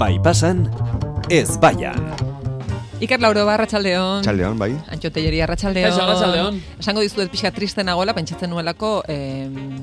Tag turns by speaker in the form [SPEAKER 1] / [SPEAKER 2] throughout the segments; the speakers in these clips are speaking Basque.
[SPEAKER 1] Bai pasan, ez baian.
[SPEAKER 2] Iker Lauro barra txaldeon.
[SPEAKER 3] Txaldeon, bai.
[SPEAKER 2] Antxo Telleria arratsaldeon.
[SPEAKER 4] Kaixo, arratsaldeon.
[SPEAKER 2] Esango dizuet pixka triste nagoela, pentsatzen nuelako em,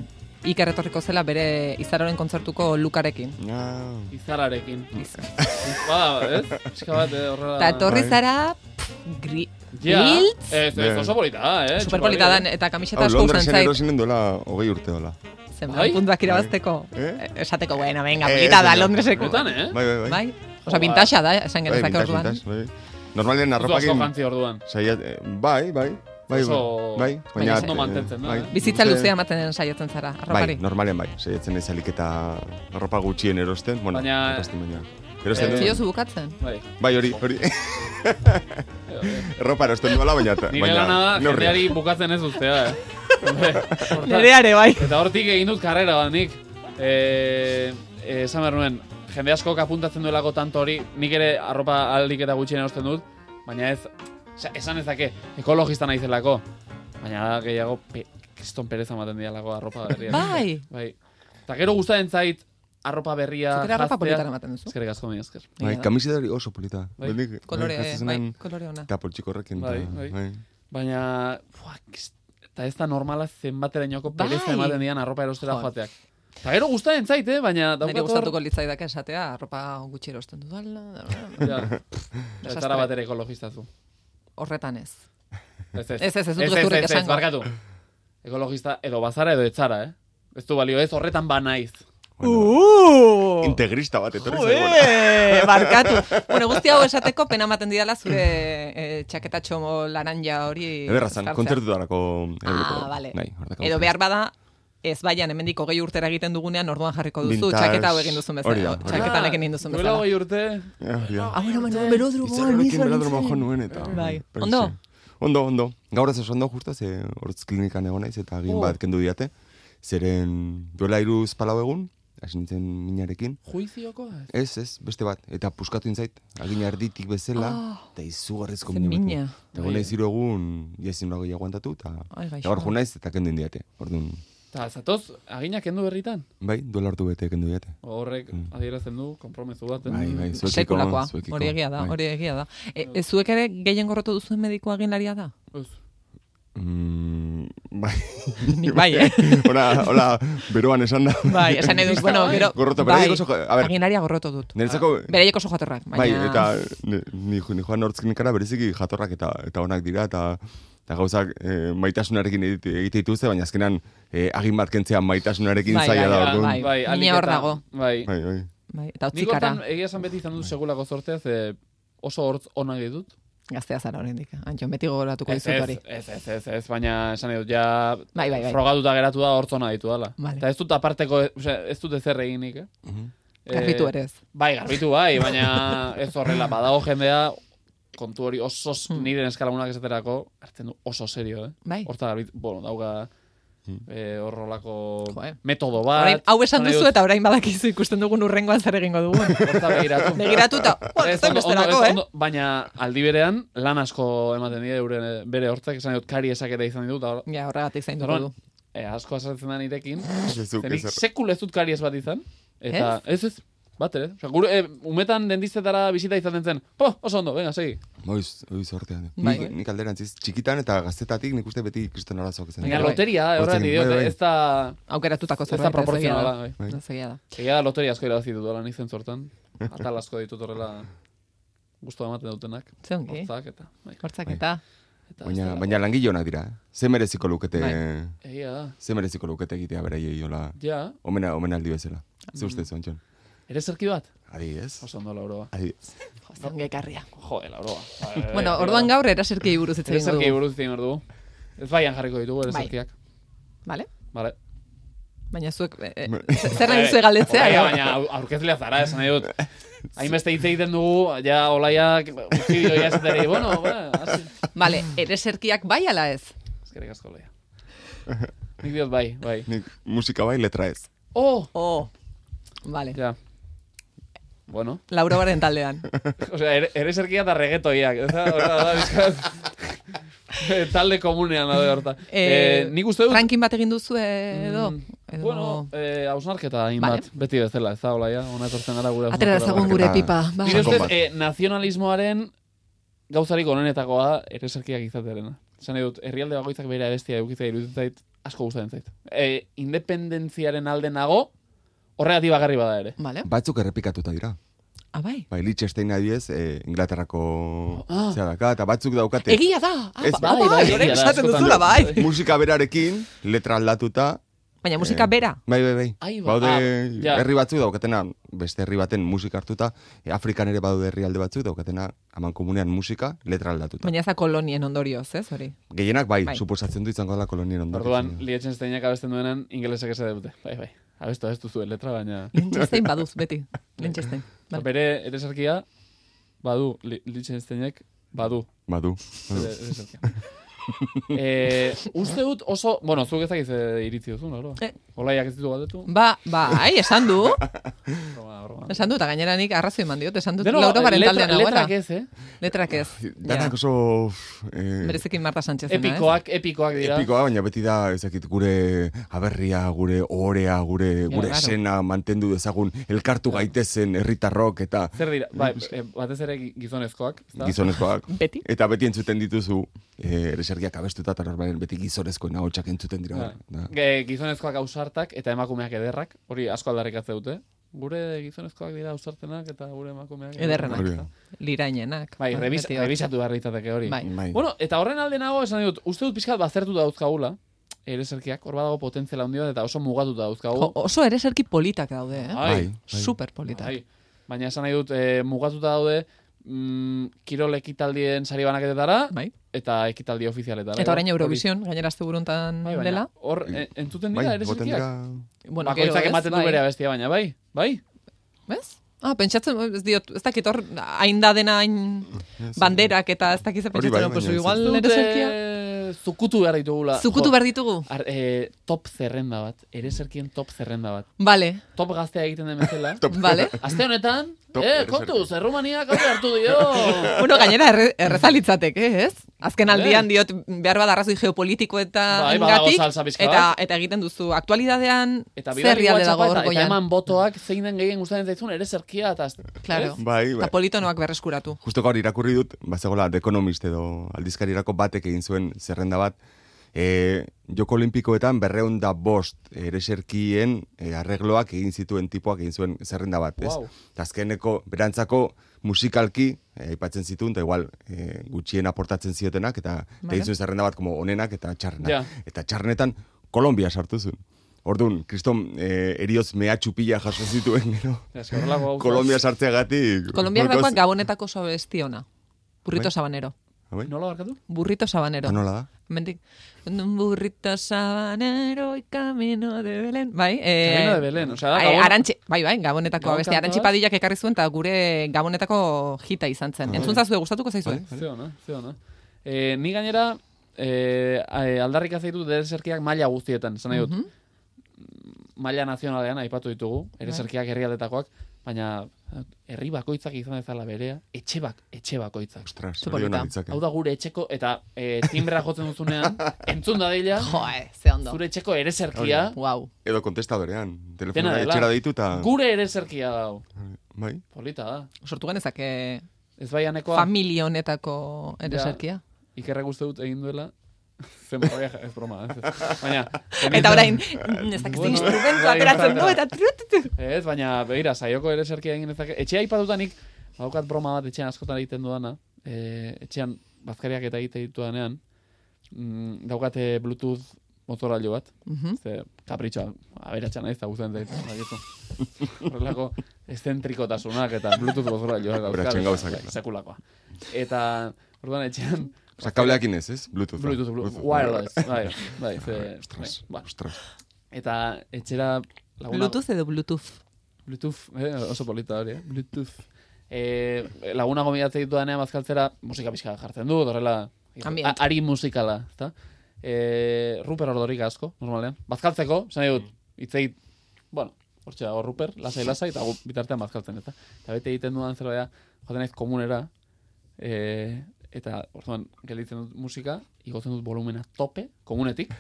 [SPEAKER 2] Iker etorriko zela bere izaroren kontzertuko lukarekin.
[SPEAKER 3] Ah,
[SPEAKER 4] Izararekin. Bada, Ba, ez? Pizka bat, eh, horrela.
[SPEAKER 2] Eta etorri
[SPEAKER 3] bai.
[SPEAKER 2] zara, pff, gri,
[SPEAKER 4] Ja, Eh,
[SPEAKER 2] giltz,
[SPEAKER 4] Ez, ez, oso polita da, eh?
[SPEAKER 2] superpolita
[SPEAKER 4] txupari,
[SPEAKER 2] dan,
[SPEAKER 4] eh.
[SPEAKER 2] eta kamiseta
[SPEAKER 3] Hau,
[SPEAKER 2] asko usten
[SPEAKER 3] Londresen
[SPEAKER 2] zait,
[SPEAKER 3] erosinen duela hogei urte dola.
[SPEAKER 2] zenbat
[SPEAKER 4] Bai?
[SPEAKER 2] puntuak
[SPEAKER 3] Bai.
[SPEAKER 2] irabazteko.
[SPEAKER 3] Eh?
[SPEAKER 2] Esateko, bueno, venga,
[SPEAKER 3] Eh,
[SPEAKER 2] polita da
[SPEAKER 3] ez, ez,
[SPEAKER 2] Londreseko.
[SPEAKER 4] Putan, eh?
[SPEAKER 3] Bai, bai, bai.
[SPEAKER 2] Bai? Osa,
[SPEAKER 4] Joa.
[SPEAKER 2] bintaxa da, esan
[SPEAKER 3] Bai,
[SPEAKER 2] genezak
[SPEAKER 3] vintage,
[SPEAKER 2] orduan.
[SPEAKER 3] vintage, bai. Normalen
[SPEAKER 4] Ez du asko
[SPEAKER 3] arropakin...
[SPEAKER 4] jantzi orduan.
[SPEAKER 3] Saiat, eh, bai, bai. Bai, bai.
[SPEAKER 4] Oso-
[SPEAKER 3] Bai,
[SPEAKER 2] baina
[SPEAKER 3] baina...
[SPEAKER 2] ondo
[SPEAKER 3] eh,
[SPEAKER 4] mantentzen da,
[SPEAKER 3] bai.
[SPEAKER 4] eh?
[SPEAKER 2] Bizitza
[SPEAKER 3] Uste-
[SPEAKER 2] luzea ematen den saiatzen zara,
[SPEAKER 3] Bai,
[SPEAKER 2] arropari.
[SPEAKER 3] normalen bai. Saiatzen ez alik eta arropa gutxien erosten. Bueno,
[SPEAKER 4] Baina-
[SPEAKER 3] erosten baina.
[SPEAKER 4] Eh,
[SPEAKER 3] Erosten
[SPEAKER 2] Zio
[SPEAKER 3] du.
[SPEAKER 2] zu bukatzen.
[SPEAKER 4] Bai.
[SPEAKER 3] Bai, hori, hori.
[SPEAKER 4] Eh,
[SPEAKER 3] Ropa erosten duela, baina...
[SPEAKER 4] Nire
[SPEAKER 3] baina
[SPEAKER 4] lana da,
[SPEAKER 3] neurrian.
[SPEAKER 4] jendeari bukatzen ez uztea, eh? Hortaz.
[SPEAKER 2] Nereare bai.
[SPEAKER 4] Eta hortik egin dut karrera bat nik. Eh, eh, esan behar nuen, jende askok apuntatzen duelako tanto hori, nik ere arropa aldik eta gutxien erosten dut, baina ez, osea, esan ezake, ekologista naizelako. Baina gehiago, pe, kriston pereza ematen dialako arropa berria.
[SPEAKER 2] Bai.
[SPEAKER 4] Bai. Eta gero gustatzen zait arropa berria
[SPEAKER 2] Zukera arropa politara ematen duzu.
[SPEAKER 4] Eskerrik asko mi esker.
[SPEAKER 3] Bai,
[SPEAKER 2] Egia da.
[SPEAKER 3] kamiseta hori oso polita.
[SPEAKER 4] Bai.
[SPEAKER 3] Bendik-
[SPEAKER 2] Kolore,
[SPEAKER 3] jazten
[SPEAKER 2] bai,
[SPEAKER 3] zenean
[SPEAKER 2] kolore ona.
[SPEAKER 3] Eta poltsiko horrekin.
[SPEAKER 4] Bai,
[SPEAKER 3] eta-
[SPEAKER 4] bai. Baina, fua, kis- eta ez da normala zenbaterainoko
[SPEAKER 2] Bai.
[SPEAKER 4] pereza ematen dian arropa erostera
[SPEAKER 2] Jo.
[SPEAKER 4] joateak. Eta gero gustatzen zait, eh? baina
[SPEAKER 2] Nire
[SPEAKER 4] daukat
[SPEAKER 2] gustatuko
[SPEAKER 4] hor...
[SPEAKER 2] litzaidake esatea, arropa gutxi erosten dudala,
[SPEAKER 4] Ja, ez
[SPEAKER 2] Desastre.
[SPEAKER 4] zara bat ere ekologista zu.
[SPEAKER 2] horretan ez.
[SPEAKER 4] Ez, ez,
[SPEAKER 2] Ez, ez, ez dut
[SPEAKER 4] ez, ez,
[SPEAKER 2] gezurrik
[SPEAKER 4] ez, ez,
[SPEAKER 2] esango.
[SPEAKER 4] barkatu. Ekologista edo bazara edo etzara, eh? Ez du balio ez, horretan ba naiz.
[SPEAKER 2] Uh.
[SPEAKER 3] Bueno, Integrista bat, etorri zaigona.
[SPEAKER 2] Ue, Uh! barkatu. bueno, guzti hau esateko pena ematen didala zure eh, txaketatxo laranja hori.
[SPEAKER 3] Ederra zan, eh,
[SPEAKER 2] jartzea.
[SPEAKER 3] kontzertutarako eroriko.
[SPEAKER 2] Ah, vale.
[SPEAKER 3] Nahi, hortako.
[SPEAKER 2] Edo behar bada, ez baian, hemendik hogei urtera egiten dugunean, orduan jarriko duzu,
[SPEAKER 3] Vintage.
[SPEAKER 2] txaketa hau egin duzun
[SPEAKER 3] Hori da,
[SPEAKER 2] bezala.
[SPEAKER 3] hori da.
[SPEAKER 2] Txaketan egin duzun
[SPEAKER 4] Duela
[SPEAKER 2] bezala.
[SPEAKER 4] hogei urte,
[SPEAKER 3] Ja, ja.
[SPEAKER 2] Ah, bueno, Ah, bueno, belodromoan,
[SPEAKER 3] Izarrekin
[SPEAKER 2] izan
[SPEAKER 3] belodromoan jo
[SPEAKER 2] zen.
[SPEAKER 3] nuen eta...
[SPEAKER 2] Bai.
[SPEAKER 3] Pentsa.
[SPEAKER 2] Ondo?
[SPEAKER 3] Ondo, ondo. Gaur ez oso ondo justa, ze hortz klinikan egon naiz eta egin
[SPEAKER 4] Oh.
[SPEAKER 3] bat kendu diate. Zeren duela iruz palau egun, hasi nintzen minarekin.
[SPEAKER 4] juizioko? eh.
[SPEAKER 3] Ez, ez, beste bat. Eta puskatu intzait, agin erditik bezala,
[SPEAKER 2] Ah.
[SPEAKER 3] eta izugarrizko
[SPEAKER 2] Ze
[SPEAKER 3] mina. bete.
[SPEAKER 2] mina.
[SPEAKER 3] Eta egon naiz hiru egun, jazin nago aguantatu, eta
[SPEAKER 2] Ai, gaixo.
[SPEAKER 3] eta gaur jo naiz eta kendu indiate. Orduan,
[SPEAKER 4] Eta zatoz, aginak kendu berritan?
[SPEAKER 3] bai, duela hartu bete kendu diate.
[SPEAKER 4] Horrek adierazten du, kompromezu bat. eh?
[SPEAKER 3] Mm. Bai, bai, zuekiko,
[SPEAKER 2] Sekulakoa,
[SPEAKER 3] zuekiko,
[SPEAKER 2] Mm, hori egia da,
[SPEAKER 3] bai.
[SPEAKER 2] hori egia da. E, e, zuek ere gehien gorrotu duzuen medikoa aginlaria da?
[SPEAKER 4] Ez.
[SPEAKER 3] Mm, bai.
[SPEAKER 2] Nik bai, eh?
[SPEAKER 3] Hola, hola, beroan esan da.
[SPEAKER 2] Bai, esan nahi dut, bueno, gero...
[SPEAKER 3] Gorroto,
[SPEAKER 2] bai,
[SPEAKER 3] beraiek oso jo- a ber.
[SPEAKER 2] Aginlaria gorroto dut.
[SPEAKER 3] Niretzako,
[SPEAKER 2] Beraiek oso jatorrak, baina...
[SPEAKER 3] bai, eta ni, ni, ni joan hortzkinikara bereziki jatorrak eta eta onak dira, eta, eta gauzak eh, maitasunarekin egite- egite dituzte, baina azkenan eh, agin bat kentzea maitasunarekin
[SPEAKER 2] Bai,
[SPEAKER 3] zaila
[SPEAKER 2] bai,
[SPEAKER 3] da,
[SPEAKER 2] bai,
[SPEAKER 3] orduan.
[SPEAKER 2] bai. Mina
[SPEAKER 4] alik
[SPEAKER 2] hor
[SPEAKER 4] eta-
[SPEAKER 2] dago.
[SPEAKER 4] Bai.
[SPEAKER 3] Bai, bai.
[SPEAKER 2] Bai, eta
[SPEAKER 4] Nik
[SPEAKER 2] otzikara,
[SPEAKER 4] hortan, egia esan beti izan dut segulako zortea, ze oso hortz ona ditut.
[SPEAKER 2] gaztea zara horrendik. Antxon, beti gogoratuko
[SPEAKER 4] Ez,
[SPEAKER 2] dizut hori.
[SPEAKER 4] ez, ez, ez, ez, ez, baina esan dut, ja
[SPEAKER 2] Bai, bai, bai.
[SPEAKER 4] frogatuta geratu da hortz ona ditu dala.
[SPEAKER 2] Vale.
[SPEAKER 4] Eta ez dut aparteko, osea, ez dut ezer eginik, eh?
[SPEAKER 2] Mhm.
[SPEAKER 4] Eh,
[SPEAKER 2] Garbitu ere ez.
[SPEAKER 4] Bai, garbitu bai, baina ez horrela, badago jendea, kontu hori oso, niren eskalagunak esaterako, hartzen du oso serio, eh?
[SPEAKER 2] Hmm. Bai.
[SPEAKER 4] Horta garbit, bueno, dauka
[SPEAKER 2] Hmm.
[SPEAKER 4] eh, horrolako
[SPEAKER 2] Jo, eh.
[SPEAKER 4] metodo bat.
[SPEAKER 2] Orain, hau esan
[SPEAKER 4] nahi
[SPEAKER 2] duzu
[SPEAKER 4] dut,
[SPEAKER 2] eta orain badakizu ikusten dugun urrengoan zer egingo dugun.
[SPEAKER 4] horta begiratu.
[SPEAKER 2] Begiratu eta, bueno,
[SPEAKER 4] Ez,
[SPEAKER 2] ez da
[SPEAKER 4] ondo, ondo,
[SPEAKER 2] besterako,
[SPEAKER 4] ez,
[SPEAKER 2] eh?
[SPEAKER 4] ondo, baina aldi berean lan asko ematen dira euren eh, bere hortzak esan dut kari esaketa izan ditut eta
[SPEAKER 2] Ja, horregatik zainduko
[SPEAKER 4] Orduan,
[SPEAKER 2] du.
[SPEAKER 3] Bai.
[SPEAKER 4] eh, asko asaltzen da nirekin.
[SPEAKER 3] Ez zuk,
[SPEAKER 4] Zenik
[SPEAKER 3] ezer.
[SPEAKER 4] sekul ez dut kari ez bat izan. Eta ez ez, bat ere. Osea, gure eh, umetan dendistetara bisita izaten zen. Po, oso ondo, venga, segi.
[SPEAKER 3] Oiz, oiz hortean.
[SPEAKER 2] Bai.
[SPEAKER 3] Nik, nik alderantziz, txikitan eta gaztetatik nik uste beti kriston arazoak izan.
[SPEAKER 4] Baina
[SPEAKER 2] bai.
[SPEAKER 4] loteria, eh,
[SPEAKER 3] Hortzen,
[SPEAKER 4] horregatik diot,
[SPEAKER 3] bai, bai.
[SPEAKER 4] ez da...
[SPEAKER 2] Aukeratutako
[SPEAKER 4] Ez da
[SPEAKER 2] zerbait, ez egia da.
[SPEAKER 4] proportzionala,
[SPEAKER 3] bai.
[SPEAKER 2] Ez egia da.
[SPEAKER 4] Egia da loteria asko irabazi dut, ala nik zortan. Atal asko ditut horrela gustu ematen dutenak.
[SPEAKER 2] Ze ongi.
[SPEAKER 4] Hortzak eta... Bai,
[SPEAKER 2] Hortzak
[SPEAKER 3] Bai.
[SPEAKER 2] eta,
[SPEAKER 4] eta ez
[SPEAKER 3] Baina,
[SPEAKER 4] da-
[SPEAKER 3] baina langile honak dira. eh? Ze mereziko lukete,
[SPEAKER 2] Bai.
[SPEAKER 4] Egia da.
[SPEAKER 3] ze mereziko lukete egitea beraiei hola.
[SPEAKER 4] Ja,
[SPEAKER 3] Omena, omenaldi bezala. Ze
[SPEAKER 4] Mm.
[SPEAKER 3] uste zu, Antxon?
[SPEAKER 4] ere zerki bat?
[SPEAKER 3] Adibidez.
[SPEAKER 4] Oso ondo, lauroa.
[SPEAKER 3] Adibidez.
[SPEAKER 2] jo, ze ongi ekarria.
[SPEAKER 4] Jode, lauroa.
[SPEAKER 2] Bueno, orduan gaur eraserkiei buruz hitz
[SPEAKER 4] Ere
[SPEAKER 2] egingo
[SPEAKER 4] zerki
[SPEAKER 2] dugu.
[SPEAKER 4] buruz egin behar dugu. Ez baian jarriko ditugu ere
[SPEAKER 2] Bai.
[SPEAKER 4] zerkiak.
[SPEAKER 2] Vale?
[SPEAKER 4] Vale.
[SPEAKER 2] Baina zuek, eh, eh,
[SPEAKER 3] Me-
[SPEAKER 2] ze- eh? zer nahi duzu galdetzea?
[SPEAKER 4] Olaia,
[SPEAKER 2] edo?
[SPEAKER 4] Baina au- aurkezlea zara, esan nahi dut. Hainbeste hitz egiten dugu, ja olaiak utzi dio ja esatera, "Eh, bueno, ba, hasi.
[SPEAKER 2] Vale, ereserkiak bai ala ez?
[SPEAKER 4] Eskerrik asko, olaia. Nik diot bai, bai.
[SPEAKER 3] Nik musika bai, letra ez.
[SPEAKER 4] Oh!
[SPEAKER 2] Oh, vale.
[SPEAKER 4] Ja. Bueno,
[SPEAKER 2] Lauro baren taldean.
[SPEAKER 4] osea, ere, ere zerkia da regetoiak. Ez da, horra da, bizkat. talde komunean daude horta.
[SPEAKER 2] Eh,
[SPEAKER 4] Eh, nik uste dut...
[SPEAKER 2] Ranking bat egin duzu edo? edo
[SPEAKER 4] Mm. Bueno, eh, hausnarketa egin
[SPEAKER 2] Vale.
[SPEAKER 4] bat, beti bezala, ez da, hola, ja, hona etortzen gara gure
[SPEAKER 2] Atera
[SPEAKER 4] hausnarketa
[SPEAKER 2] dezagun
[SPEAKER 4] bat.
[SPEAKER 2] gure
[SPEAKER 3] Eta-
[SPEAKER 2] pipa. Ba.
[SPEAKER 4] Nire
[SPEAKER 3] Sakon
[SPEAKER 4] ustez,
[SPEAKER 3] bat.
[SPEAKER 4] eh, nazionalismoaren gauzarik onenetakoa da eresarkiak izatearena. Esan nahi dut, herrialde bakoitzak bere abestia eukitzea iruditzen zait, asko gustatzen zait. Eh, independentziaren alde nago, horregatik bagarri bada ere.
[SPEAKER 2] Vale.
[SPEAKER 3] Batzuk errepikatuta dira.
[SPEAKER 2] Ah, bai.
[SPEAKER 3] Bai, Liechtenstein adiez, eh, Inglaterrako
[SPEAKER 4] Ah.
[SPEAKER 3] zea daka, eta batzuk
[SPEAKER 4] Eh.
[SPEAKER 3] daukate.
[SPEAKER 2] Egia da. Ah,
[SPEAKER 3] Ez,
[SPEAKER 2] ba-
[SPEAKER 3] bai,
[SPEAKER 2] ah,
[SPEAKER 4] bai, egia
[SPEAKER 2] orain
[SPEAKER 4] da,
[SPEAKER 2] esaten
[SPEAKER 4] askotan
[SPEAKER 2] duzula,
[SPEAKER 4] du.
[SPEAKER 2] bai.
[SPEAKER 3] Musika berarekin, letra aldatuta,
[SPEAKER 2] Baina musika
[SPEAKER 3] Eh,
[SPEAKER 2] bera.
[SPEAKER 3] Bai, bai, bai.
[SPEAKER 4] Ai, ba-
[SPEAKER 3] Baude
[SPEAKER 4] ah, ja.
[SPEAKER 3] herri batzuk daukatena, beste herri baten musika hartuta, e, Afrikan ere badaude herrialde batzuk daukatena aman komunean musika letra aldatuta.
[SPEAKER 2] Baina ez da kolonien ondorioz, ez hori?
[SPEAKER 3] Gehienak bai,
[SPEAKER 2] Bai.
[SPEAKER 3] suposatzen du izango dela kolonien ondoren.
[SPEAKER 4] Orduan, Liechtensteinak abesten duenan, ingelesek ez dute. Bai, bai. Abestu, abestu zuen letra, baina...
[SPEAKER 2] Lintxestein baduz, beti. Lintxestein.
[SPEAKER 4] Eta Bere eresarkia, badu, li, Liechtensteinek, badu.
[SPEAKER 3] Badu.
[SPEAKER 4] bere eresarkia. eh, uste dut oso, bueno, zuk ezakiz eh, iritzi duzun, oro?
[SPEAKER 2] Eh.
[SPEAKER 4] Olaiak ez ditu galdetu?
[SPEAKER 2] Ba, bai, esan du.
[SPEAKER 4] Broma, broma.
[SPEAKER 2] Esan du, eta gainera nik arrazoi eman diot. Esan dut,
[SPEAKER 4] Denok,
[SPEAKER 2] lauro garen
[SPEAKER 4] letra-
[SPEAKER 2] taldean nagoela.
[SPEAKER 4] Letrak ez, eh?
[SPEAKER 2] Letrak ez.
[SPEAKER 3] Danak
[SPEAKER 2] Ja.
[SPEAKER 3] oso... uf,
[SPEAKER 4] Mm.
[SPEAKER 3] Eh,
[SPEAKER 2] Berezekin Marta Sánchez.
[SPEAKER 4] Epikoak, epikoak dira.
[SPEAKER 3] Epikoa, baina beti da, ezakit, gure aberria, gure orea, gure, gure
[SPEAKER 2] claro.
[SPEAKER 3] esena mantendu dezagun, elkartu gaitezen herritarrok eta
[SPEAKER 4] Zer dira? Bai, eh, batez ere gi- gizonezkoak. ezta?
[SPEAKER 3] gizonezkoak.
[SPEAKER 2] Beti.
[SPEAKER 3] Eta beti entzuten dituzu, eh, eresergiak abestuta eta normalen beti gizonezkoen ahotsak entzuten dira.
[SPEAKER 4] Bai.
[SPEAKER 3] Da.
[SPEAKER 4] Ge- Gizonezkoak ausartak eta emakumeak ederrak. Hori asko aldarrikatzen dute. Gure gizonezkoak dira ausartenak eta gure emakumeak
[SPEAKER 2] Ederrenak.
[SPEAKER 3] Hori da.
[SPEAKER 2] Lirainenak.
[SPEAKER 4] Bai,
[SPEAKER 2] Bueno,
[SPEAKER 4] revis,
[SPEAKER 2] beti hor.
[SPEAKER 4] rebisatu behar litzateke hori.
[SPEAKER 2] Bai.
[SPEAKER 3] Bai.
[SPEAKER 4] Bueno, eta horren alde nago, esan dut, uste dut pixkat baztertuta dauzkagula, ereserkiak, hor badago potentziala handia bat eta oso mugatuta
[SPEAKER 2] Jo,
[SPEAKER 4] dauzkagu.
[SPEAKER 2] oso ere serki politak daude, eh?
[SPEAKER 4] Ai,
[SPEAKER 3] Bai.
[SPEAKER 2] Super politak.
[SPEAKER 4] Bai. Baina esan nahi dut, eh, mugatuta daude, mm, kirol ekitaldien sari banaketetara,
[SPEAKER 2] Bai.
[SPEAKER 4] eta ekitaldi ofizialetara.
[SPEAKER 2] Eta orain
[SPEAKER 4] Hori-
[SPEAKER 2] Eurovision, gainera azte buruntan
[SPEAKER 4] Bai, baina
[SPEAKER 2] dela.
[SPEAKER 4] Hor, eh, entzuten
[SPEAKER 3] Bai,
[SPEAKER 4] dira ere
[SPEAKER 3] boten
[SPEAKER 4] zerkiak.
[SPEAKER 3] dira-
[SPEAKER 2] Bueno, gero
[SPEAKER 4] Bakoitzak
[SPEAKER 2] ez,
[SPEAKER 4] ematen du
[SPEAKER 2] bai.
[SPEAKER 4] bere abestia, baina bai, bai.
[SPEAKER 2] Ez? Ah, pentsatzen, ez diot, ez dakit hor, hain da dena hain banderak eta ez dakit ze
[SPEAKER 3] Hori bai,
[SPEAKER 2] pentsatzen, no, pues
[SPEAKER 3] baina ez
[SPEAKER 2] igual
[SPEAKER 4] Uste dut,
[SPEAKER 2] ere serkia.
[SPEAKER 4] eh, Zukutu behar ditugula.
[SPEAKER 2] Zukutu
[SPEAKER 4] Jo,
[SPEAKER 2] behar ditugu.
[SPEAKER 4] ar- eh, top zerrenda bat, ere zerkien top zerrenda bat.
[SPEAKER 2] Vale,
[SPEAKER 4] Top gaztea egiten den bezala.
[SPEAKER 2] vale.
[SPEAKER 4] Aste honetan,
[SPEAKER 3] Top
[SPEAKER 4] eh,
[SPEAKER 3] ereserkia.
[SPEAKER 4] kontuz, errumaniak hau hartu dio.
[SPEAKER 2] Bueno, gainera erre, errezalitzateke, ez? Azken aldian
[SPEAKER 4] Eh.
[SPEAKER 2] diot behar bat arrazoi geopolitiko eta
[SPEAKER 4] Bai, badago salsa pixka
[SPEAKER 2] eta,
[SPEAKER 4] bat.
[SPEAKER 2] eta egiten duzu aktualidadean
[SPEAKER 4] Eta
[SPEAKER 2] zer
[SPEAKER 4] bidali
[SPEAKER 2] rialde dago
[SPEAKER 4] WhatsAppa eta, eta
[SPEAKER 2] orgoian.
[SPEAKER 4] eman botoak zein den gehien gustatzen zaizun ere zerkia eta ez-
[SPEAKER 2] Claro.
[SPEAKER 4] ez?
[SPEAKER 3] Bai, bai.
[SPEAKER 2] Eta politonoak berreskuratu.
[SPEAKER 3] Justo gaur irakurri dut, bazegola, The Economist edo aldizkarirako batek egin zuen zerrenda bat, e, Joko Olimpikoetan berreun da bost ereserkien e, arregloak egin zituen tipoak egin zuen zerrenda bat, ez?
[SPEAKER 4] Wow.
[SPEAKER 3] Eta azkeneko, berantzako musikalki, e, aipatzen zituen, eta igual e, gutxien aportatzen ziotenak, eta
[SPEAKER 2] Vale.
[SPEAKER 3] vale. egin zuen zerrenda bat como onenak eta txarrenak.
[SPEAKER 4] Ja.
[SPEAKER 3] Eta txarrenetan Kolombia sartu zuen. Orduan, kriston e, erioz mehatxu pila jaso zituen, gero.
[SPEAKER 4] Ez, horrelako gauzak.
[SPEAKER 3] Kolombia sartzeagatik.
[SPEAKER 2] Kolombiak
[SPEAKER 3] Gauz-
[SPEAKER 2] dagoak gabonetako oso bestiona. Burrito
[SPEAKER 3] Bai.
[SPEAKER 2] sabanero.
[SPEAKER 3] Bai?
[SPEAKER 4] Nola barkatu?
[SPEAKER 2] Burrito sabanero.
[SPEAKER 3] Ah, nola da?
[SPEAKER 2] Mendik, un burrito sabanero y camino de Belén. Bai, eh,
[SPEAKER 4] Camino de Belén, osea, da
[SPEAKER 2] ai,
[SPEAKER 4] Gabon-
[SPEAKER 2] Arantxe- bai, bai, gabonetako
[SPEAKER 4] Gabon
[SPEAKER 2] abesti.
[SPEAKER 4] kanta
[SPEAKER 2] Arantxi
[SPEAKER 4] bat.
[SPEAKER 2] padillak ekarri zuen eta gure gabonetako jita izan zen.
[SPEAKER 3] Bai.
[SPEAKER 2] Entzun zazue, gustatuko zaizue.
[SPEAKER 4] Ze ona, ze ona. Eh, ni gainera, eh, aldarrik azaitu dereserkiak maila guztietan, esan nahi dut.
[SPEAKER 2] Mhm.
[SPEAKER 4] Maila nazionalean aipatu ditugu,
[SPEAKER 2] Bai.
[SPEAKER 4] ereserkiak herrialdetakoak, baina herri bakoitzak izan dezala berea, etxe, bak, etxe bakoitzak.
[SPEAKER 3] Ostras,
[SPEAKER 2] Ze
[SPEAKER 3] hori eh.
[SPEAKER 2] polita.
[SPEAKER 3] ona litzake.
[SPEAKER 4] Hau da gure etxeko, eta eh, timbra jotzen duzunean, entzun dadila,
[SPEAKER 2] Jo, eh, ze ondo.
[SPEAKER 4] zure etxeko ereserkia,
[SPEAKER 2] Wow.
[SPEAKER 3] Edo kontestadorean.
[SPEAKER 4] Dena
[SPEAKER 3] Telefonora
[SPEAKER 4] dela.
[SPEAKER 3] etxera deitu eta...
[SPEAKER 4] gure ereserkia dago.
[SPEAKER 3] Bai?
[SPEAKER 4] Polita da.
[SPEAKER 2] Sortu genezake
[SPEAKER 4] Ez bai baianekoa,
[SPEAKER 2] familia honetako ereserkia.
[SPEAKER 4] ikerrek uste dut egin duela, zen barroia, ez broma, ez. Baina,
[SPEAKER 2] Eta orain, mm, ez dakiz
[SPEAKER 4] Bueno,
[SPEAKER 2] instrumentu
[SPEAKER 4] bai,
[SPEAKER 2] ateratzen
[SPEAKER 4] bai.
[SPEAKER 2] du eta trututu.
[SPEAKER 4] ez, baina, begira, saioko ereserkia egin ezake. Etxea aipatutanik, baukat broma bat etxean askotan egiten dudana, e, etxean bazkariak eta egite ditudanean, mm, daukate Bluetooth motorailu bat,
[SPEAKER 2] Mhm.
[SPEAKER 4] Ze, kapritxoa, aberatxa nahi, eta guztien zait, badakizu. Horrelako, eszentrikotasunak eta bluetooth gozora joak
[SPEAKER 3] Aberatxen gauzak,
[SPEAKER 4] bai,
[SPEAKER 3] eta.
[SPEAKER 4] Sekulakoa. Eta, orduan, etxean,
[SPEAKER 3] Osa, kableak inez, ez? Bluetooth.
[SPEAKER 4] bluetooth, bluetooth, wireless, bai, bai, ze, bai,
[SPEAKER 3] Ostras,
[SPEAKER 4] ba.
[SPEAKER 3] ostras.
[SPEAKER 4] Eta etxera laguna...
[SPEAKER 2] Bluetooth edo Bluetooth.
[SPEAKER 4] Bluetooth, eh, oso polita hori, eh? Bluetooth. Eh, laguna gomidatzen ditu danean bazkaltzera, musika pixka bat jartzen du, horrela,
[SPEAKER 2] Ambient.
[SPEAKER 4] a- ari musikala, ezta? Eh, Ruper ordorik asko, normalean. Bazkaltzeko, esan nahi dut, itzei, bueno, hortxe dago Ruper, lasai lasai, eta gu bitartean bazkaltzen, eta. Eta bete egiten dudan zerbait, da, joaten naiz komunera, eh, Eta, orduan, gelditzen dut musika, igotzen dut volumena tope, komunetik,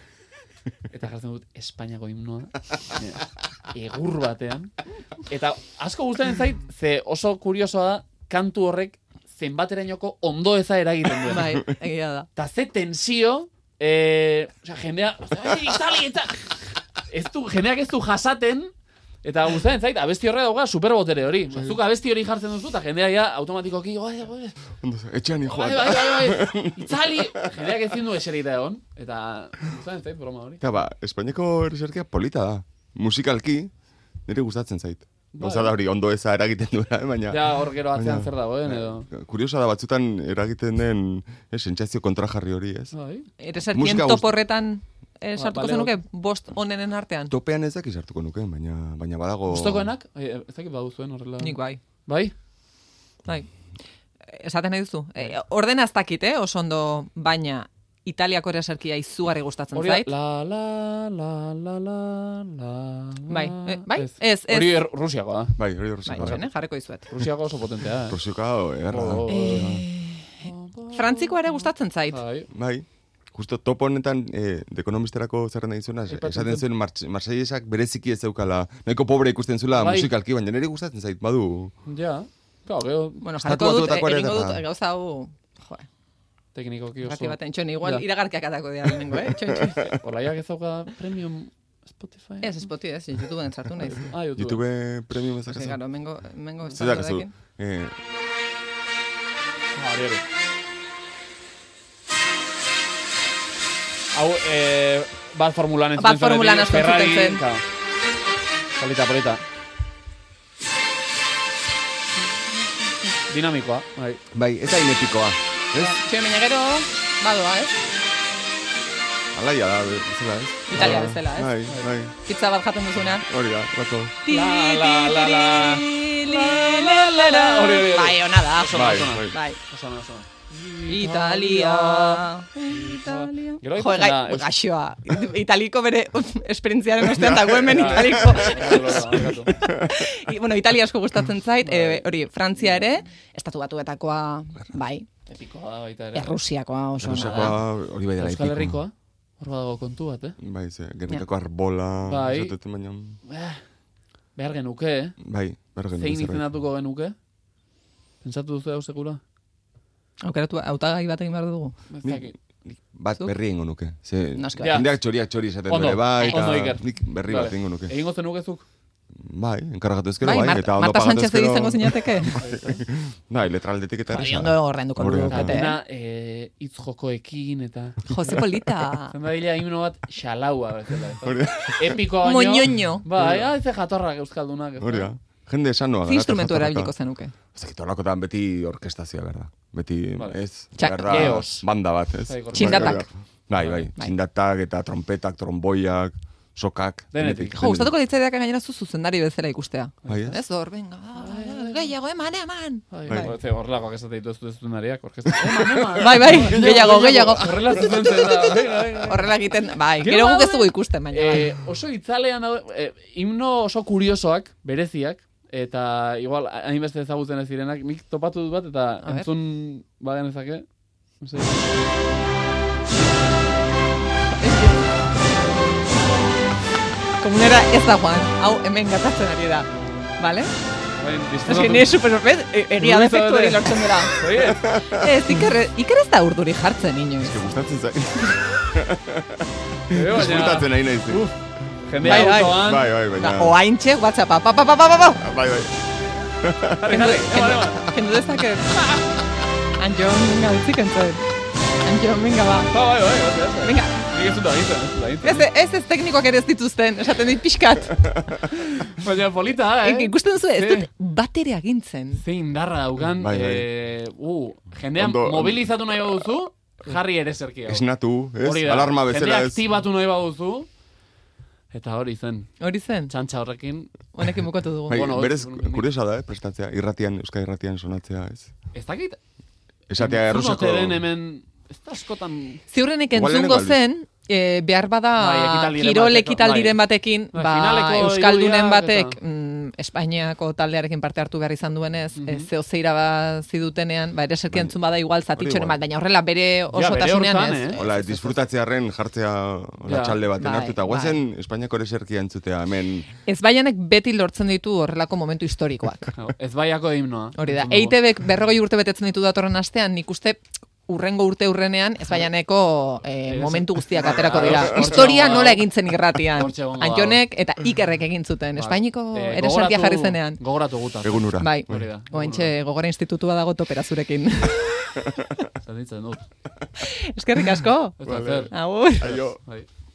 [SPEAKER 4] eta jartzen dut Espainiako himnoa, egur batean. Eta asko gustatzen zait, ze oso kuriosoa da, kantu horrek zenbaterainoko ondo eza eragiten duen.
[SPEAKER 2] Bai, egia da.
[SPEAKER 4] Eta ze tensio, eh, osea, jendea, "Ai, itzali, eta... Ez du, jendeak ez du jasaten, eta gustatzen zait, abesti horre dauka superbotere hori. Osea, Zuk abesti hori jartzen duzu, eta jendea ja automatikoki, "Oi, oi,
[SPEAKER 3] Ondo, etxean
[SPEAKER 4] bai,
[SPEAKER 3] joan.
[SPEAKER 4] bai, bai, bai, itzali, jendeak ezin du eserita egon, eta gustatzen zait broma hori.
[SPEAKER 3] Eta ba, Espainiako ereserkia polita da. Musikalki, nire gustatzen zait. Gauza da hori, ondo eza eragiten duena, eh, baina...
[SPEAKER 4] Bai. Ja, hor gero atzean
[SPEAKER 3] Baina-
[SPEAKER 4] zer dagoen edo.
[SPEAKER 3] Kuriosa da batzutan eragiten den eh, sentsazio kontrajarri hori, ez?
[SPEAKER 4] Bai.
[SPEAKER 2] Ereserkien
[SPEAKER 3] Musika guzti-
[SPEAKER 2] top horretan eh,
[SPEAKER 4] Ba,
[SPEAKER 2] sartuko
[SPEAKER 4] baleo.
[SPEAKER 2] zenuke bost onenen artean.
[SPEAKER 3] Topean ezak izartuko nuke, baina, baina badago...
[SPEAKER 4] Gustokoenak? Eh, Ez dakit baduzuen horrela.
[SPEAKER 2] Nik bai.
[SPEAKER 4] Bai?
[SPEAKER 2] Bai. Esaten nahi duzu. E, ordena ez dakit, eh, oso ondo, baina Italiako ereserkia izugarri gustatzen
[SPEAKER 4] Hori da,
[SPEAKER 2] zait.
[SPEAKER 4] la la la la la la
[SPEAKER 2] Bai,
[SPEAKER 4] la.
[SPEAKER 2] eh, bai, ez, ez.
[SPEAKER 4] Hori er, Rusiakoa da.
[SPEAKER 3] Bai, hori
[SPEAKER 2] Bai,
[SPEAKER 3] horrezko.
[SPEAKER 2] zen, eh, jarriko dizuet.
[SPEAKER 4] Rusiako oso potentea. eh.
[SPEAKER 3] Prosioka erra da.
[SPEAKER 4] Oh, eh,
[SPEAKER 2] Frantzikoa ere gustatzen zait.
[SPEAKER 4] Bai.
[SPEAKER 3] Bai. Justo top honetan eh, de ekonomisterako zerrenda izuna,
[SPEAKER 4] Aipatzen
[SPEAKER 3] esaten
[SPEAKER 4] zen.
[SPEAKER 3] zuen Marse- Marseillesak bereziki ez zeukala, nahiko pobre ikusten zula
[SPEAKER 4] Bai.
[SPEAKER 3] musikalki, baina nire gustatzen zait, badu
[SPEAKER 4] Ja. Claro, gero
[SPEAKER 2] Bueno,
[SPEAKER 3] Estatu
[SPEAKER 2] jarriko dut, eh,
[SPEAKER 3] batuetako ere
[SPEAKER 2] egingo dut,
[SPEAKER 3] gerra.
[SPEAKER 2] gauza hau, jo,
[SPEAKER 4] teknikoki oso.
[SPEAKER 2] grafi baten, txon, igual
[SPEAKER 4] Ja.
[SPEAKER 2] iragarkiak atako dira lehenengo, eh? Txon, txon.
[SPEAKER 4] Olaiak ez dauka premium Spotify.
[SPEAKER 2] Ez, espoti ez, YouTubeen sartu naiz.
[SPEAKER 4] Ah, YouTube.
[SPEAKER 3] YouTube premium ezak
[SPEAKER 2] Ose,
[SPEAKER 3] ezan.
[SPEAKER 2] garo, mengo, mengo,
[SPEAKER 3] Zer dakazu?
[SPEAKER 2] estatuarekin.
[SPEAKER 3] Eh,
[SPEAKER 4] Ah, hori, hori. Hau, eh, bat formulan entzuten
[SPEAKER 2] Bat formulan
[SPEAKER 4] zenetik,
[SPEAKER 2] asko entzuten
[SPEAKER 4] Ferrari,
[SPEAKER 2] zen.
[SPEAKER 4] ka. Polita, polita. Dinamikoa, bai.
[SPEAKER 3] bai, ez hain epikoa. Ez?
[SPEAKER 2] Txon, baina gero, badoa, ez?
[SPEAKER 3] Alaia da, bezala, ez?
[SPEAKER 2] Italia
[SPEAKER 3] Ah,
[SPEAKER 2] bezala, ez?
[SPEAKER 3] Bai, bai,
[SPEAKER 2] Pizza bat jaten duzunean.
[SPEAKER 3] hori da, bako.
[SPEAKER 4] La, la, la, la.
[SPEAKER 2] Li, li, la, la, la.
[SPEAKER 4] Hori, hori, hori.
[SPEAKER 2] Bai, ona da, oso
[SPEAKER 3] Bai,
[SPEAKER 2] ona.
[SPEAKER 3] bai.
[SPEAKER 2] Bai.
[SPEAKER 4] Oso, oso.
[SPEAKER 2] Italia. Italia. Jo,
[SPEAKER 4] Gero aipatzen
[SPEAKER 2] gai,
[SPEAKER 4] da, eus-
[SPEAKER 2] gaxoa. Italiko bere esperientziaren ostean dago hemen Italiko. I- bueno, Italia asko gustatzen zait, eh, hori, Frantzia ere, estatu batuetakoa, bai,
[SPEAKER 4] Epikoa da baita ere.
[SPEAKER 2] Errusiakoa oso ona
[SPEAKER 3] Rusakoa
[SPEAKER 2] da.
[SPEAKER 3] hori bai dela
[SPEAKER 4] Euskal Herrikoa. Hor badago kontu bat, eh?
[SPEAKER 3] Bai, ze, gernikako arbola,
[SPEAKER 4] Bai.
[SPEAKER 3] esateten baina...
[SPEAKER 4] Eh, Behar genuke, eh?
[SPEAKER 3] Bai, berro gendu
[SPEAKER 4] Zein izendatuko genuke? Pentsatu duzu hau sekula?
[SPEAKER 2] Aukeratu, hautagai bat egin behar dugu.
[SPEAKER 4] Ez dakit.
[SPEAKER 3] Bat
[SPEAKER 2] Zuk?
[SPEAKER 3] berri ingo nuke. Ze,
[SPEAKER 2] Noski
[SPEAKER 4] bai.
[SPEAKER 3] jendeak txoriak txori esaten
[SPEAKER 4] Ondo,
[SPEAKER 3] dure, bai,
[SPEAKER 4] ondo,
[SPEAKER 3] eta
[SPEAKER 4] Iker.
[SPEAKER 3] nik berri
[SPEAKER 4] Vale.
[SPEAKER 3] bat ingo nuke.
[SPEAKER 4] Egingo zenuke zuk?
[SPEAKER 3] Bai, enkargatu ezkero, bai,
[SPEAKER 2] bai, Mar-
[SPEAKER 3] eta ondo
[SPEAKER 2] Marta
[SPEAKER 3] pagatu
[SPEAKER 2] Sánchez
[SPEAKER 3] ezkero.
[SPEAKER 2] izango zinateke.
[SPEAKER 3] Bai, letraldetik eta
[SPEAKER 2] Hori
[SPEAKER 3] erresa.
[SPEAKER 2] ondo horrenduko
[SPEAKER 3] Hori
[SPEAKER 2] dugu.
[SPEAKER 3] ondo.
[SPEAKER 2] Kate, eh?
[SPEAKER 4] Dena, eh, hitz jokoekin eta...
[SPEAKER 2] Jose Polita.
[SPEAKER 4] Zenda dila himno bat xalaua bezala. ez da?
[SPEAKER 3] Hori da,
[SPEAKER 4] Epikoa baino.
[SPEAKER 2] Moñoño.
[SPEAKER 4] Bai, ah, ze jatorrak euskaldunak. ez da?
[SPEAKER 3] hori da. Jende esanoa.
[SPEAKER 2] Ze instrumentu erabiliko zenuke?
[SPEAKER 3] Ez dakit horlakotan beti orkestazioa, berda. Beti,
[SPEAKER 4] Vale.
[SPEAKER 3] ez,
[SPEAKER 2] Txak-
[SPEAKER 3] berda,
[SPEAKER 4] Eos.
[SPEAKER 3] banda bat, ez.
[SPEAKER 4] Bai, gorka.
[SPEAKER 2] Txindatak.
[SPEAKER 3] Bai, bai,
[SPEAKER 2] Bai.
[SPEAKER 3] txindatak eta trompetak, tromboiak, sokak.
[SPEAKER 4] Denetik.
[SPEAKER 2] Jo, gustatuko ditzaidak gainera zu zuzendari bezala ikustea.
[SPEAKER 3] Bai, ez?
[SPEAKER 2] Ez hor, venga, gehiago eman, eman.
[SPEAKER 4] Bai,
[SPEAKER 3] Bai.
[SPEAKER 4] bai. Horrelakoak ez dut ez dut zuzendariak, orkestra. Eman, eman.
[SPEAKER 2] Bai, bai, gehiago, gehiago.
[SPEAKER 4] Horrela zuzentzen da. Venga, venga.
[SPEAKER 2] Horrela egiten, bai, gero guk ez dugu ikusten, baina bai.
[SPEAKER 4] Eh, oso itzalean daude, eh, himno oso kuriosoak, bereziak, eta igual hainbeste ezagutzen ez direnak, nik topatu dut bat eta
[SPEAKER 2] A ber.
[SPEAKER 4] entzun badean ezake.
[SPEAKER 2] Komunera ez da joan, hau hemen gatatzen ari da. Bale? Ez que nire super sorprez, e- egia
[SPEAKER 4] Luis
[SPEAKER 2] defektu hori
[SPEAKER 4] Abade.
[SPEAKER 2] lortzen dela. Ez, iker, iker ez da urduri jartzen inoiz.
[SPEAKER 3] Eske gustatzen zait.
[SPEAKER 4] Baina,
[SPEAKER 3] Gustatzen nahi naiz.
[SPEAKER 4] Uf, jendea
[SPEAKER 2] Bai, bai.
[SPEAKER 4] autoan.
[SPEAKER 3] Bai, bai,
[SPEAKER 2] Da,
[SPEAKER 3] baina.
[SPEAKER 2] oaintxe, whatsappa, pa, pa, pa, pa, pa, pa.
[SPEAKER 3] Bai, bai.
[SPEAKER 4] Jarri, jarri, eman, eman.
[SPEAKER 2] Kendu dezaket. Antxo, minga, utzik entzuen. Antxo, minga, ba.
[SPEAKER 4] Ba, bai, bai, bai, bai, bai.
[SPEAKER 2] Venga,
[SPEAKER 4] Nik ez dut egiten, ez dut egiten.
[SPEAKER 2] ez, ez, ez teknikoak ere ez dituzten, esaten dit pixkat.
[SPEAKER 4] Baina polita, da, eh?
[SPEAKER 2] Ikusten duzu, ez
[SPEAKER 4] Ze-
[SPEAKER 2] dut bat ere agintzen.
[SPEAKER 4] Ze indarra daukan,
[SPEAKER 3] Bai, bai.
[SPEAKER 4] eh, uh, jendea
[SPEAKER 3] Ondo-
[SPEAKER 4] mobilizatu nahi baduzu, jarri ere zerkia.
[SPEAKER 3] Esnatu, ez?
[SPEAKER 4] Hori da.
[SPEAKER 3] Alarma bezala
[SPEAKER 4] Jendea
[SPEAKER 3] ez.
[SPEAKER 4] aktibatu nahi baduzu. Eta hori zen,
[SPEAKER 2] Hori zen,
[SPEAKER 4] txantxa horrekin,
[SPEAKER 2] honekin bukatu dugu.
[SPEAKER 3] Bai,
[SPEAKER 4] Bueno,
[SPEAKER 3] berez,
[SPEAKER 4] bueno,
[SPEAKER 3] kuriosa da, eh, prestatzea, irratian, euskal irratian sonatzea, ez?
[SPEAKER 4] ez dakit,
[SPEAKER 3] Esatea
[SPEAKER 4] entzun
[SPEAKER 3] errusako...
[SPEAKER 4] ote den hemen, ez da askotan...
[SPEAKER 2] Ziurrenik
[SPEAKER 3] Igual
[SPEAKER 2] entzungo
[SPEAKER 3] lehenengo
[SPEAKER 2] zen, e, behar bada
[SPEAKER 4] Bai, ekitaldiren
[SPEAKER 2] kirol
[SPEAKER 4] bateko-
[SPEAKER 2] ekitaldiren
[SPEAKER 4] bai.
[SPEAKER 2] batekin,
[SPEAKER 4] Bai,
[SPEAKER 2] ba,
[SPEAKER 4] finaleko
[SPEAKER 2] euskaldunen
[SPEAKER 4] irudiak
[SPEAKER 2] batek
[SPEAKER 4] eta-
[SPEAKER 2] mm, Espainiako taldearekin parte hartu behar izan duenez, mm
[SPEAKER 4] Mhm.
[SPEAKER 2] -hmm. zeo zeira ba zidutenean, ba, ereserkia entzun bada igual zatitxoren
[SPEAKER 3] Bai.
[SPEAKER 2] bat,
[SPEAKER 3] igual.
[SPEAKER 2] baina horrela bere osotasunean
[SPEAKER 4] hortan,
[SPEAKER 2] ez.
[SPEAKER 4] eh?
[SPEAKER 3] Hola, disfrutatzearen jartzea hola,
[SPEAKER 4] Ja.
[SPEAKER 3] txalde baten
[SPEAKER 2] Bai,
[SPEAKER 3] hartu eta guazen Espainiako ereserkia entzutea hemen.
[SPEAKER 2] Ez baianek beti lortzen ditu horrelako momentu historikoak.
[SPEAKER 4] Ez baiako himnoa.
[SPEAKER 2] Hori da, E
[SPEAKER 4] Entzun dugu.
[SPEAKER 2] EITBek berrogei urte betetzen ditu datorren astean, nik uste urrengo urte urrenean, ez baianeko eh,
[SPEAKER 4] Ez.
[SPEAKER 2] momentu guztiak aterako dira.
[SPEAKER 4] Hortxe
[SPEAKER 2] Historia
[SPEAKER 4] egongo da.
[SPEAKER 2] nola egintzen irratian.
[SPEAKER 4] Hortxe egongo da.
[SPEAKER 2] Antionek eta ikerrek egin zuten. Espainiko
[SPEAKER 4] Eh,
[SPEAKER 2] ereserkia
[SPEAKER 4] gogoratu-
[SPEAKER 2] jarri zenean.
[SPEAKER 4] Gogoratu guta.
[SPEAKER 3] Egun hura.
[SPEAKER 2] Bai,
[SPEAKER 4] Hori da.
[SPEAKER 2] goentxe gogora institutua dago topera zurekin.
[SPEAKER 4] Zer ditzen dut.
[SPEAKER 2] Eskerrik asko.
[SPEAKER 4] Ez da zer.
[SPEAKER 2] Agur.
[SPEAKER 3] Aio.
[SPEAKER 4] Bai.